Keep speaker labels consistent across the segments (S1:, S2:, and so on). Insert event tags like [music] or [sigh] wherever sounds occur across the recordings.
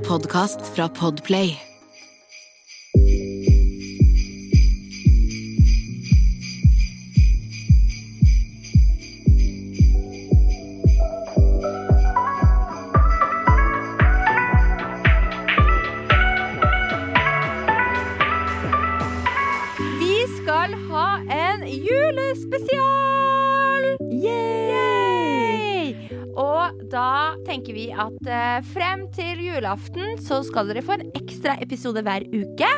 S1: podkast fra Podplay.
S2: Vi skal ha en julespesial! Yay! Og da tenker vi at eh, frem til julaften så skal dere få en ekstra episode hver uke.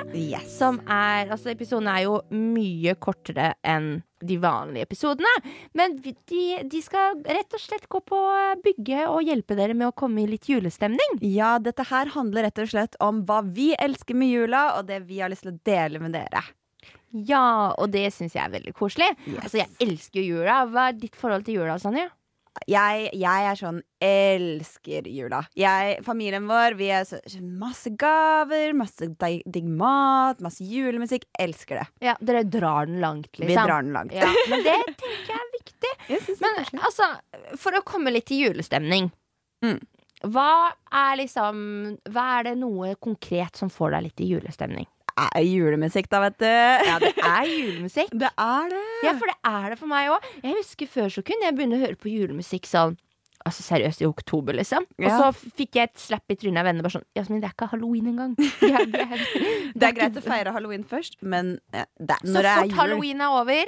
S2: Som er, altså Episodene er jo mye kortere enn de vanlige episodene. Men vi- de, de skal rett og slett gå på eh, bygge og hjelpe dere med å komme i litt julestemning.
S3: Ja, dette her handler rett og slett om hva vi elsker med jula, og det vi har lyst til å dele med dere.
S2: Ja, og det syns jeg er veldig koselig. Altså, Jeg elsker jo jula. Hva er ditt forhold til jula, Sanja?
S3: Jeg, jeg er sånn elsker jula. Jeg, familien vår, vi er så, masse gaver, masse deig- digg mat, masse julemusikk. Elsker det.
S2: Ja, dere drar den langt, liksom.
S3: Vi drar den langt.
S2: Ja, men det tenker jeg er viktig.
S3: [laughs] Jeg synes det er
S2: Men
S3: koselig.
S2: altså, for å komme litt i julestemning.
S3: Mm.
S2: Hva er liksom Hva er det noe konkret som får deg litt i julestemning?
S3: Det er julemusikk, da, vet du.
S2: Ja, det er julemusikk.
S3: [laughs] Det er det.
S2: Ja, for det er det for meg òg. Jeg husker før så kunne jeg begynne å høre på julemusikk sånn Altså seriøst, i oktober, liksom. Og så
S3: Ja.
S2: fikk jeg et slapp i trynet av vennene. Bare sånn Jasmin, det er ikke halloween
S3: [laughs]
S2: engang. Det er, det er,
S3: Det er greit å feire halloween først, men eh, det, er-
S2: Så
S3: når det er
S2: fort
S3: jul
S2: halloween er over,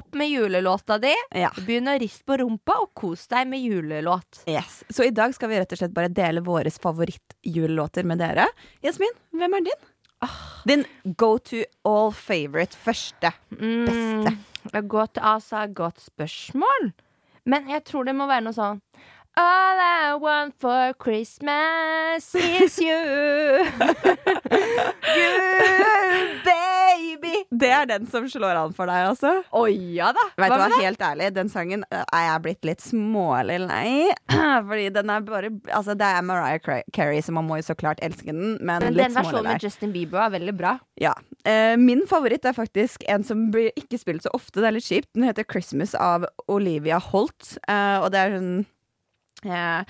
S2: opp med julelåta di.
S3: Ja.
S2: Begynn å riste på rumpa og kos deg med julelåt.
S3: Yes. Så i dag skal vi rett og slett bare dele våre favorittjulelåter med dere. Jasmin, hvem er din?
S2: Ah.
S3: Din go to all favorite
S2: [laughs]
S3: første. Beste.
S2: Mm, godt, altså, godt spørsmål. Men jeg tror det må være noe sånn All I want for Christmas is you. [laughs]
S3: You baby! Det er den som slår an for deg, altså.
S2: Å ja da.
S3: Vet du
S2: med
S3: hva,
S2: det?
S3: helt ærlig, den sangen eh, er jeg blitt litt smålig lei. [clears throat] Fordi den er bare Altså, det er Mariah Cra- Carey, så man må jo så klart elske den, men,
S2: Men
S3: litt
S2: den
S3: smålig
S2: versjonen
S3: lei.
S2: med Justin Bieber var veldig bra.
S3: Ja. Eh, min favoritt er faktisk en som blir ikke spilt så ofte. Det er litt kjipt. Den heter 'Christmas' av Olivia Holt. eh, og det er sånn eh,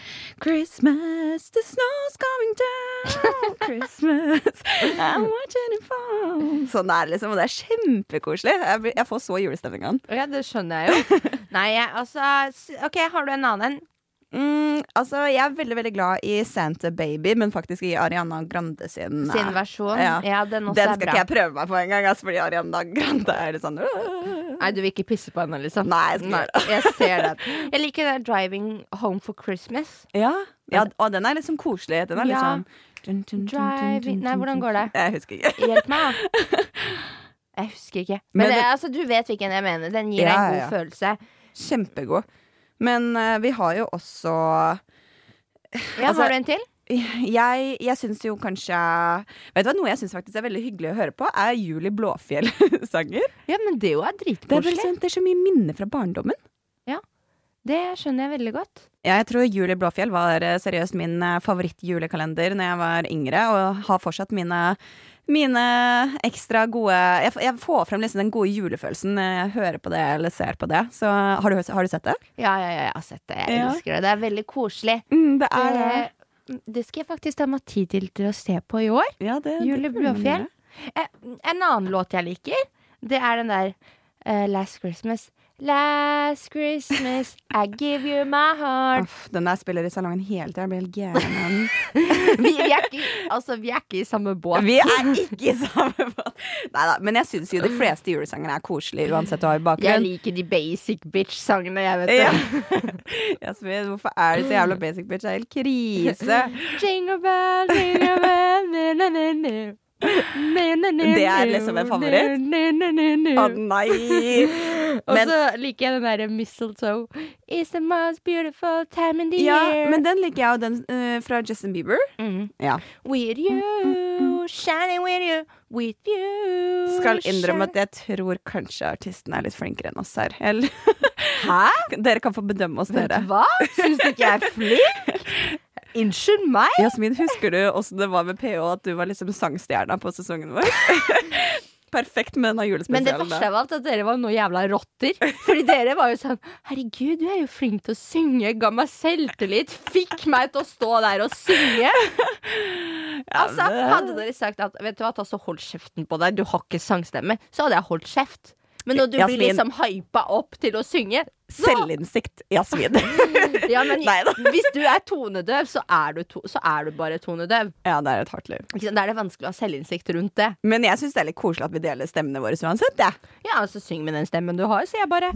S3: Christmas, the snow's coming
S2: [laughs]
S3: down. Christmas, I'm watching it fall. Sånn er det liksom. Og det er kjempekoselig. Jeg, blir- jeg får så julestemning av den.
S2: Ja, det skjønner jeg jo. [laughs] Nei, jeg, altså s- OK, har du en annen en?
S3: Mm, altså, jeg er veldig veldig glad i Santa Baby, men faktisk i Ariana Grande sin. eh,
S2: Sin versjon? Ja,
S3: Ja.
S2: den
S3: den
S2: også
S3: skal
S2: er bra.
S3: ikke jeg prøve meg på engang, altså, fordi Ariana Grande er litt sånn øh.
S2: Nei, du vil ikke pisse på henne, liksom?
S3: Nei, jeg skal ikke gjøre
S2: jeg ser den. Jeg liker den der 'Driving Home for Christmas'.
S3: Ja, ja og den er liksom koselig. Den er
S2: Ja.
S3: liksom
S2: Driving Nei, hvordan går det?
S3: Jeg husker ikke. [laughs]
S2: Hjelp meg, da. Jeg husker ikke. Men,
S3: Men det-
S2: eh, altså, du vet hvilken jeg mener. Den gir
S3: Ja,
S2: deg en
S3: ja,
S2: god følelse.
S3: Kjempegod. Men eh, vi har jo også
S2: Ja,
S3: Altså-
S2: Har du en til?
S3: Jeg, jeg syns jo kanskje Vet du hva, noe jeg syns faktisk er veldig hyggelig å høre på, er Julie Blåfjell-sanger.
S2: Ja, men det er jo er
S3: Det, er bare
S2: dritkoselig.
S3: sånn- det er så mye minner fra barndommen.
S2: Det skjønner jeg veldig godt.
S3: Ja, jeg tror Julie Blåfjell var eh, seriøst min eh, favorittjulekalender når jeg var yngre, og har fortsatt mine, mine ekstra gode jeg, f- jeg får frem liksom den gode julefølelsen når jeg hører på det eller ser på det. Så har du, har du sett det?
S2: Ja, ja, ja, jeg har sett det. Jeg
S3: Ja.
S2: elsker det. Det er veldig koselig.
S3: Mm, det
S2: Det, det skal jeg faktisk ta meg tid til til å se på i år.
S3: Ja, det,
S2: Julie Blåfjell. Eh, En annen låt jeg liker, det er den der eh, Last Christmas. Last Christmas, I give you my heart.
S3: Uff, den der spiller i salongen hele tida. Jeg blir helt [laughs] gæren av den.
S2: [laughs] Vi, vi, er ikke, altså, vi er ikke i samme båt.
S3: Vi er ikke i samme båt! Nei da, men jeg syns jo de fleste julesanger er koselige uansett hva i
S2: Jeg
S3: bakgrunnen.
S2: liker de basic bitch-sangene, jeg, vet
S3: Ja. [laughs]
S2: du.
S3: Jasmin, hvorfor er du så jævla basic bitch? Det er helt krise.
S2: Jingle bell, jingle bell, na, na, na, na. Na, na, na,
S3: Det er
S2: na,
S3: liksom en favoritt?
S2: na, na, na, na.
S3: Å nei!
S2: Og
S3: men-
S2: så liker jeg den derre mistletoe. It's the most beautiful time in the
S3: Ja,
S2: year.
S3: men den liker jeg, og den eh, fra Justin Bieber.
S2: Mm.
S3: Ja.
S2: With you, shining with you, with you
S3: Skal innrømme
S2: shining-
S3: at jeg tror kanskje artisten er litt flinkere enn oss her.
S2: [laughs]
S3: Eller- Dere kan få bedømme oss,
S2: Vet
S3: dere.
S2: du hva? Syns du ikke jeg er flink?
S3: [laughs]
S2: Unnskyld meg?
S3: Jasmin, husker du åssen det var med PH at du var liksom sangstjerna på sesongen vår? [laughs] perfekt med denne julespesialen.
S2: Men det
S3: da.
S2: verste av alt er at dere var noe jævla rotter. Fordi dere var jo sånn Herregud, du er jo flink til å synge. Ga meg selvtillit. Fikk meg til å stå der og synge. Altså,
S3: det-
S2: hadde dere sagt at Vet du hva, ta så hold kjeften på deg, du har ikke sangstemme, så hadde jeg holdt kjeft. Men når du blir
S3: Jasmin.
S2: liksom hypa opp til å synge
S3: Selvinnsikt,
S2: [laughs]
S3: Jasmin. [laughs]
S2: ja, men
S3: Neida.
S2: Hvis du er tonedøv, så er du, to, så er du bare tonedøv.
S3: ja, det er et hardt liv.
S2: Ikke sant? Da er det vanskelig å ha selvinnsikt rundt det.
S3: Men jeg syns det er litt koselig at vi deler stemmene våre uansett. Ja.
S2: Ja, altså syng med den stemmen du har, sier jeg bare.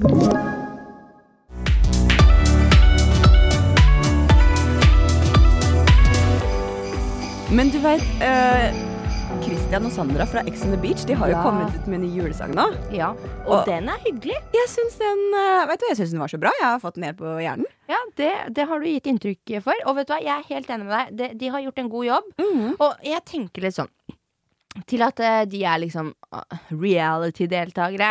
S3: Men du veit Christian og Sandra fra Ex on the Beach De har jo
S2: Ja.
S3: kommet ut med en ny julesang nå.
S2: Ja, Og
S3: Og-
S2: den er hyggelig.
S3: Jeg syns den, eh, vet du, jeg syns den var så bra. Jeg har fått den helt på hjernen.
S2: Ja, det, det har du gitt inntrykk for. Og vet du hva, jeg er helt enig med deg. De, de har gjort en god jobb.
S3: Mhm.
S2: Og jeg tenker litt sånn Til at eh, de er liksom ah,
S3: [laughs]
S2: reality-deltakere,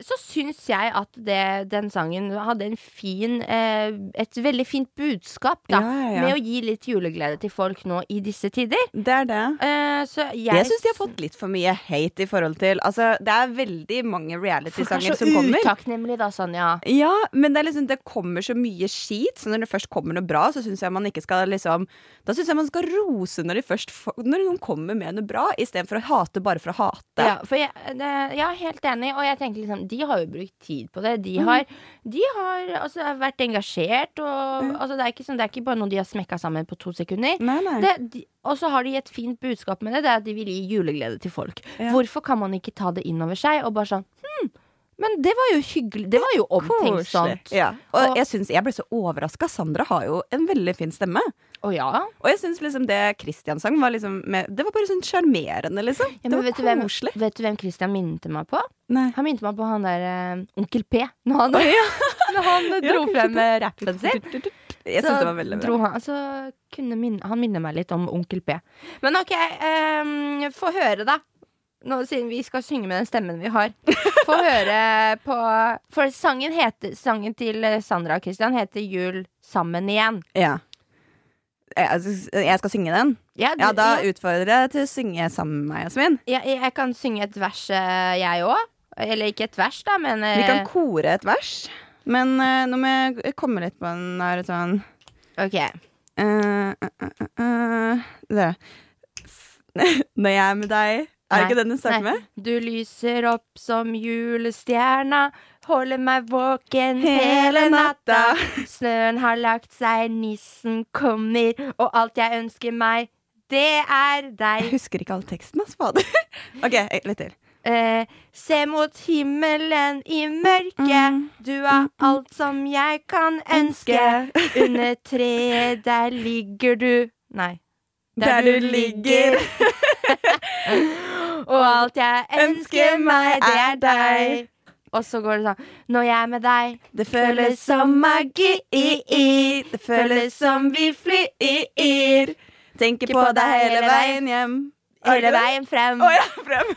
S2: så syns jeg at det, den sangen hadde en fin eh, Et veldig fint budskap, da.
S3: Ja, ja, ja.
S2: Med å gi litt juleglede til folk nå i disse tider.
S3: Det er det.
S2: Eh, så jeg,
S3: Jeg syns de har fått litt for mye hate i forhold til Altså, det er veldig mange
S2: Folk er
S3: reality-sanger
S2: så
S3: som kommer.
S2: utakknemlige, da, Sanja.
S3: Ja, men det, er liksom, det kommer så mye skit, så når det først kommer noe bra, så syns jeg man ikke skal liksom Da syns jeg man skal rose når de først får- Når noen kommer med noe bra, istedenfor å hate bare for å hate.
S2: Ja, for jeg, det, jeg er helt enig, og jeg tenker liksom De har jo brukt tid på det. De
S3: Mm.
S2: har, de har altså, vært engasjert, og altså, det, er ikke sånn, det er ikke bare noe de har smekka sammen på to sekunder.
S3: Nei, Mm. nei.
S2: Det, de, og så har de et fint budskap med det, det er at de vil gi juleglede til folk.
S3: Ja.
S2: Hvorfor kan man ikke ta det inn over seg og bare sånn Hm, men det var jo hyggelig. Det var jo omtenksomt.
S3: Ja. Og
S2: Og-
S3: jeg, synes, jeg ble så overraska. Sandra har jo en veldig fin stemme.
S2: Å ja.
S3: Og jeg syns liksom det Christian sang, var liksom med, Det var bare sånn sjarmerende, liksom.
S2: ja men
S3: det var
S2: vet, du hvem,
S3: koselig.
S2: vet du hvem Christian minnet meg på?
S3: Nei.
S2: Han minnet meg på han der eh, Onkel P. Når han, [laughs] når han dro
S3: kanskje
S2: frem eh, rappen sin.
S3: Jeg syns det var veldig bra.
S2: dro han, så kunne minne, han minner meg litt om Onkel P. Men OK, ehm, få høre, da. Nå, siden vi skal synge med den stemmen vi har.
S3: [laughs]
S2: Få høre på For sangen, heter, sangen til eh, Sandra og Christian heter Jul sammen igjen.
S3: Ja. Jeg, altså, jeg skal synge den?
S2: du-
S3: Ja, da
S2: jeg,
S3: utfordrer jeg til å synge sammen med meg, Jasmin.
S2: jeg, jeg kan synge et vers, eh, jeg òg. Eller ikke et vers, da, men
S3: Vi kan
S2: eh,
S3: kore et vers. Men eh, nå må jeg komme litt på den der sånn
S2: OK.
S3: eh, eh, eh, eh, der. F- [laughs] Når jeg er med deg Er det ikke den du starter med?
S2: Du lyser opp som julestjerna, holder meg våken
S3: Hele
S2: hele natta.
S3: natta.
S2: Snøen har lagt seg, nissen kommer, og alt jeg ønsker meg, det er
S3: Jeg
S2: deg.
S3: husker ikke all teksten, ass, fader. [laughs] OK, eh, litt til.
S2: Eh, se mot himmelen i
S3: Mm.
S2: mørket, du har alt som jeg kan ønske. Under treet, der ligger du Nei.
S3: Der du ligger.
S2: [laughs] Og alt jeg ønsker meg, det er deg. Og så går det sånn. Når jeg er med deg,
S3: Det føles som magi, det føles som vi flyr. Tenker på deg hele veien hjem.
S2: hele veien frem.
S3: Å ja, [laughs] frem.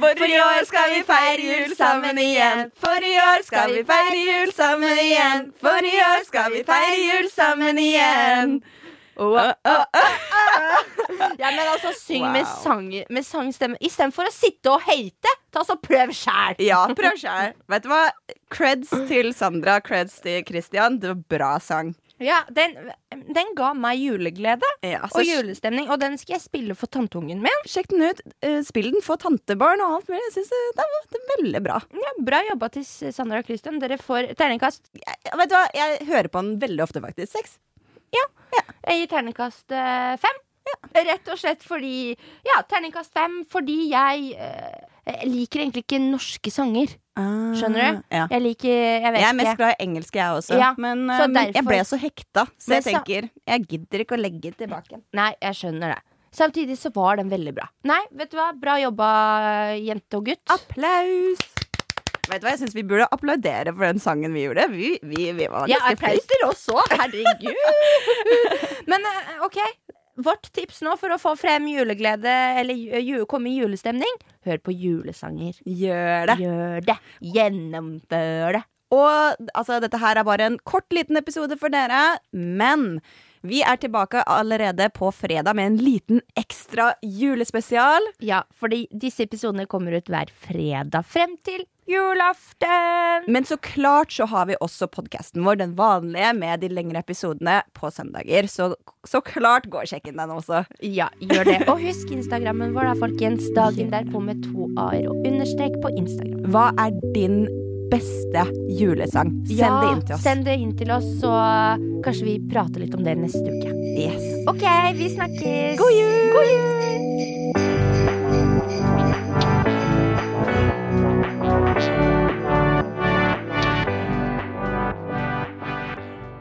S3: For i år skal vi feire jul sammen igjen. For i år skal vi feire jul sammen igjen. For i år skal vi feire jul sammen igjen. Åh, åh, åh.
S2: Ja, men altså, syng
S3: Wow.
S2: med, sang, med sangstemme. Istedenfor å sitte og hate, ta så prøv sjæl.
S3: Ja, prøv sjæl. [laughs] Vet du hva? Creds til Sandra, creds til Christian. Det var bra sang.
S2: Ja, den, den ga meg juleglede
S3: Ja,
S2: og julestemning, og den skal jeg spille for tanteungen min.
S3: Sjekk den ut. Eh, Spill den for tantebarn og alt mulig. Jeg syns det, det var det er veldig bra.
S2: Ja, bra jobba til Sandra og Christian. Dere får terningkast.
S3: Jeg, vet du hva? jeg hører på den veldig ofte, faktisk. Seks.
S2: Jeg gir terningkast eh, fem. Rett og slett fordi Ja, terningkast fem fordi jeg eh, jeg liker egentlig ikke norske sanger. Skjønner du?
S3: Ah, Mm, Ja.
S2: Jeg liker Jeg vet
S3: Jeg er mest
S2: ikke.
S3: glad i engelsk, jeg også.
S2: Ja,
S3: men
S2: så
S3: eh, men jeg
S2: derfor-
S3: ble så hekta, så
S2: Men
S3: jeg
S2: sa-
S3: tenker jeg gidder ikke å legge tilbake.
S2: Nei, jeg skjønner det. Samtidig så var den veldig bra. Nei, vet du hva? Bra jobba, jente og gutt.
S3: Applaus! Vet du hva, Jeg syns vi burde applaudere for den sangen vi gjorde. Vi, vi, vi var
S2: Ja,
S3: ganske
S2: applaus
S3: flinke.
S2: til oss òg. Herregud. [laughs] Men eh, OK. Vårt tips nå for å få frem juleglede eller ju- ju- komme i julestemning, hør på julesanger.
S3: Gjør det.
S2: Gjør det. Gjennomfør det.
S3: Og altså, dette her er bare en kort liten episode for dere, men Vi er tilbake allerede på fredag med en liten ekstra julespesial.
S2: Ja, fordi disse episodene kommer ut hver fredag frem til julaften.
S3: Men så klart så har vi også podkasten vår, den vanlige, med de lengre episodene på søndager. Så, så klart gå og sjekk inn den også.
S2: Ja, gjør det. Og husk Instagrammen vår, da, folkens. Dagen derpå med to a-er og understrek på Instagram.
S3: Hva er din beste julesang? Send
S2: Ja,
S3: det inn til oss.
S2: Send det inn til oss, så kanskje vi prater litt om det neste uke.
S3: Yes.
S2: OK, vi snakkes.
S3: God jul!
S2: God jul!